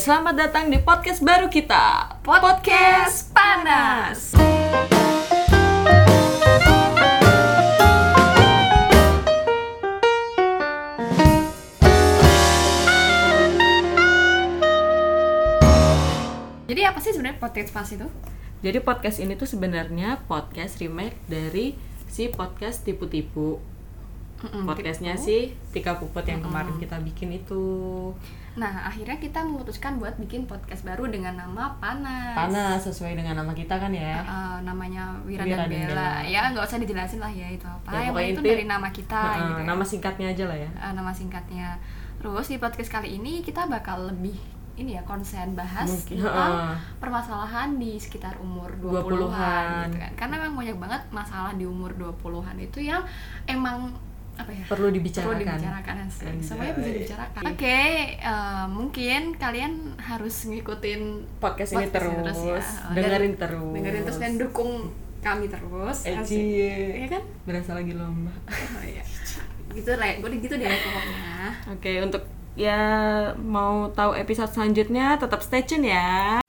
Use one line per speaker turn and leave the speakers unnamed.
Selamat datang di podcast baru kita, Podcast Panas.
Jadi apa sih sebenarnya podcast pas itu?
Jadi podcast ini tuh sebenarnya podcast remake dari si podcast tipu-tipu. Podcastnya
gitu.
si Tika Puput yang kemarin kita bikin itu.
Nah, akhirnya kita memutuskan buat bikin podcast baru dengan nama Panas.
Panas sesuai dengan nama kita kan ya.
Eh, namanya Wira,
Wira dan
dan Bella.
Bella.
Ya, nggak usah dijelasin lah ya itu apa.
Ya,
Yang
pokoknya
penting itu
inti-
dari nama kita
Heeh,
gitu. ya.
Nama singkatnya aja lah ya.
Eh, nama singkatnya. Terus di podcast kali ini kita bakal lebih ini ya konsen bahas
Mungkin,
tentang
heeh.
permasalahan di sekitar umur 20-an,
20-an.
gitu kan. Karena memang banyak banget masalah di umur 20-an itu yang emang apa ya?
Perlu
perlu
dibicarakan. Iya,
dibicarakan asik.
Anjay.
semuanya bisa dibicarakan oke eh, mungkin kalian harus ngikutin
Podcast ini
podcast
terus,
ya.
dengerin
Dan-
terus.
dengerin terus dan dukung kami terus
Eh,
Asik.
cie.
Iya kan
Berasa lagi lomba.
oh, iya. gitu lah gue gitu deh pokoknya
Oke, untuk ya mau tahu episode selanjutnya tetap stay tune ya.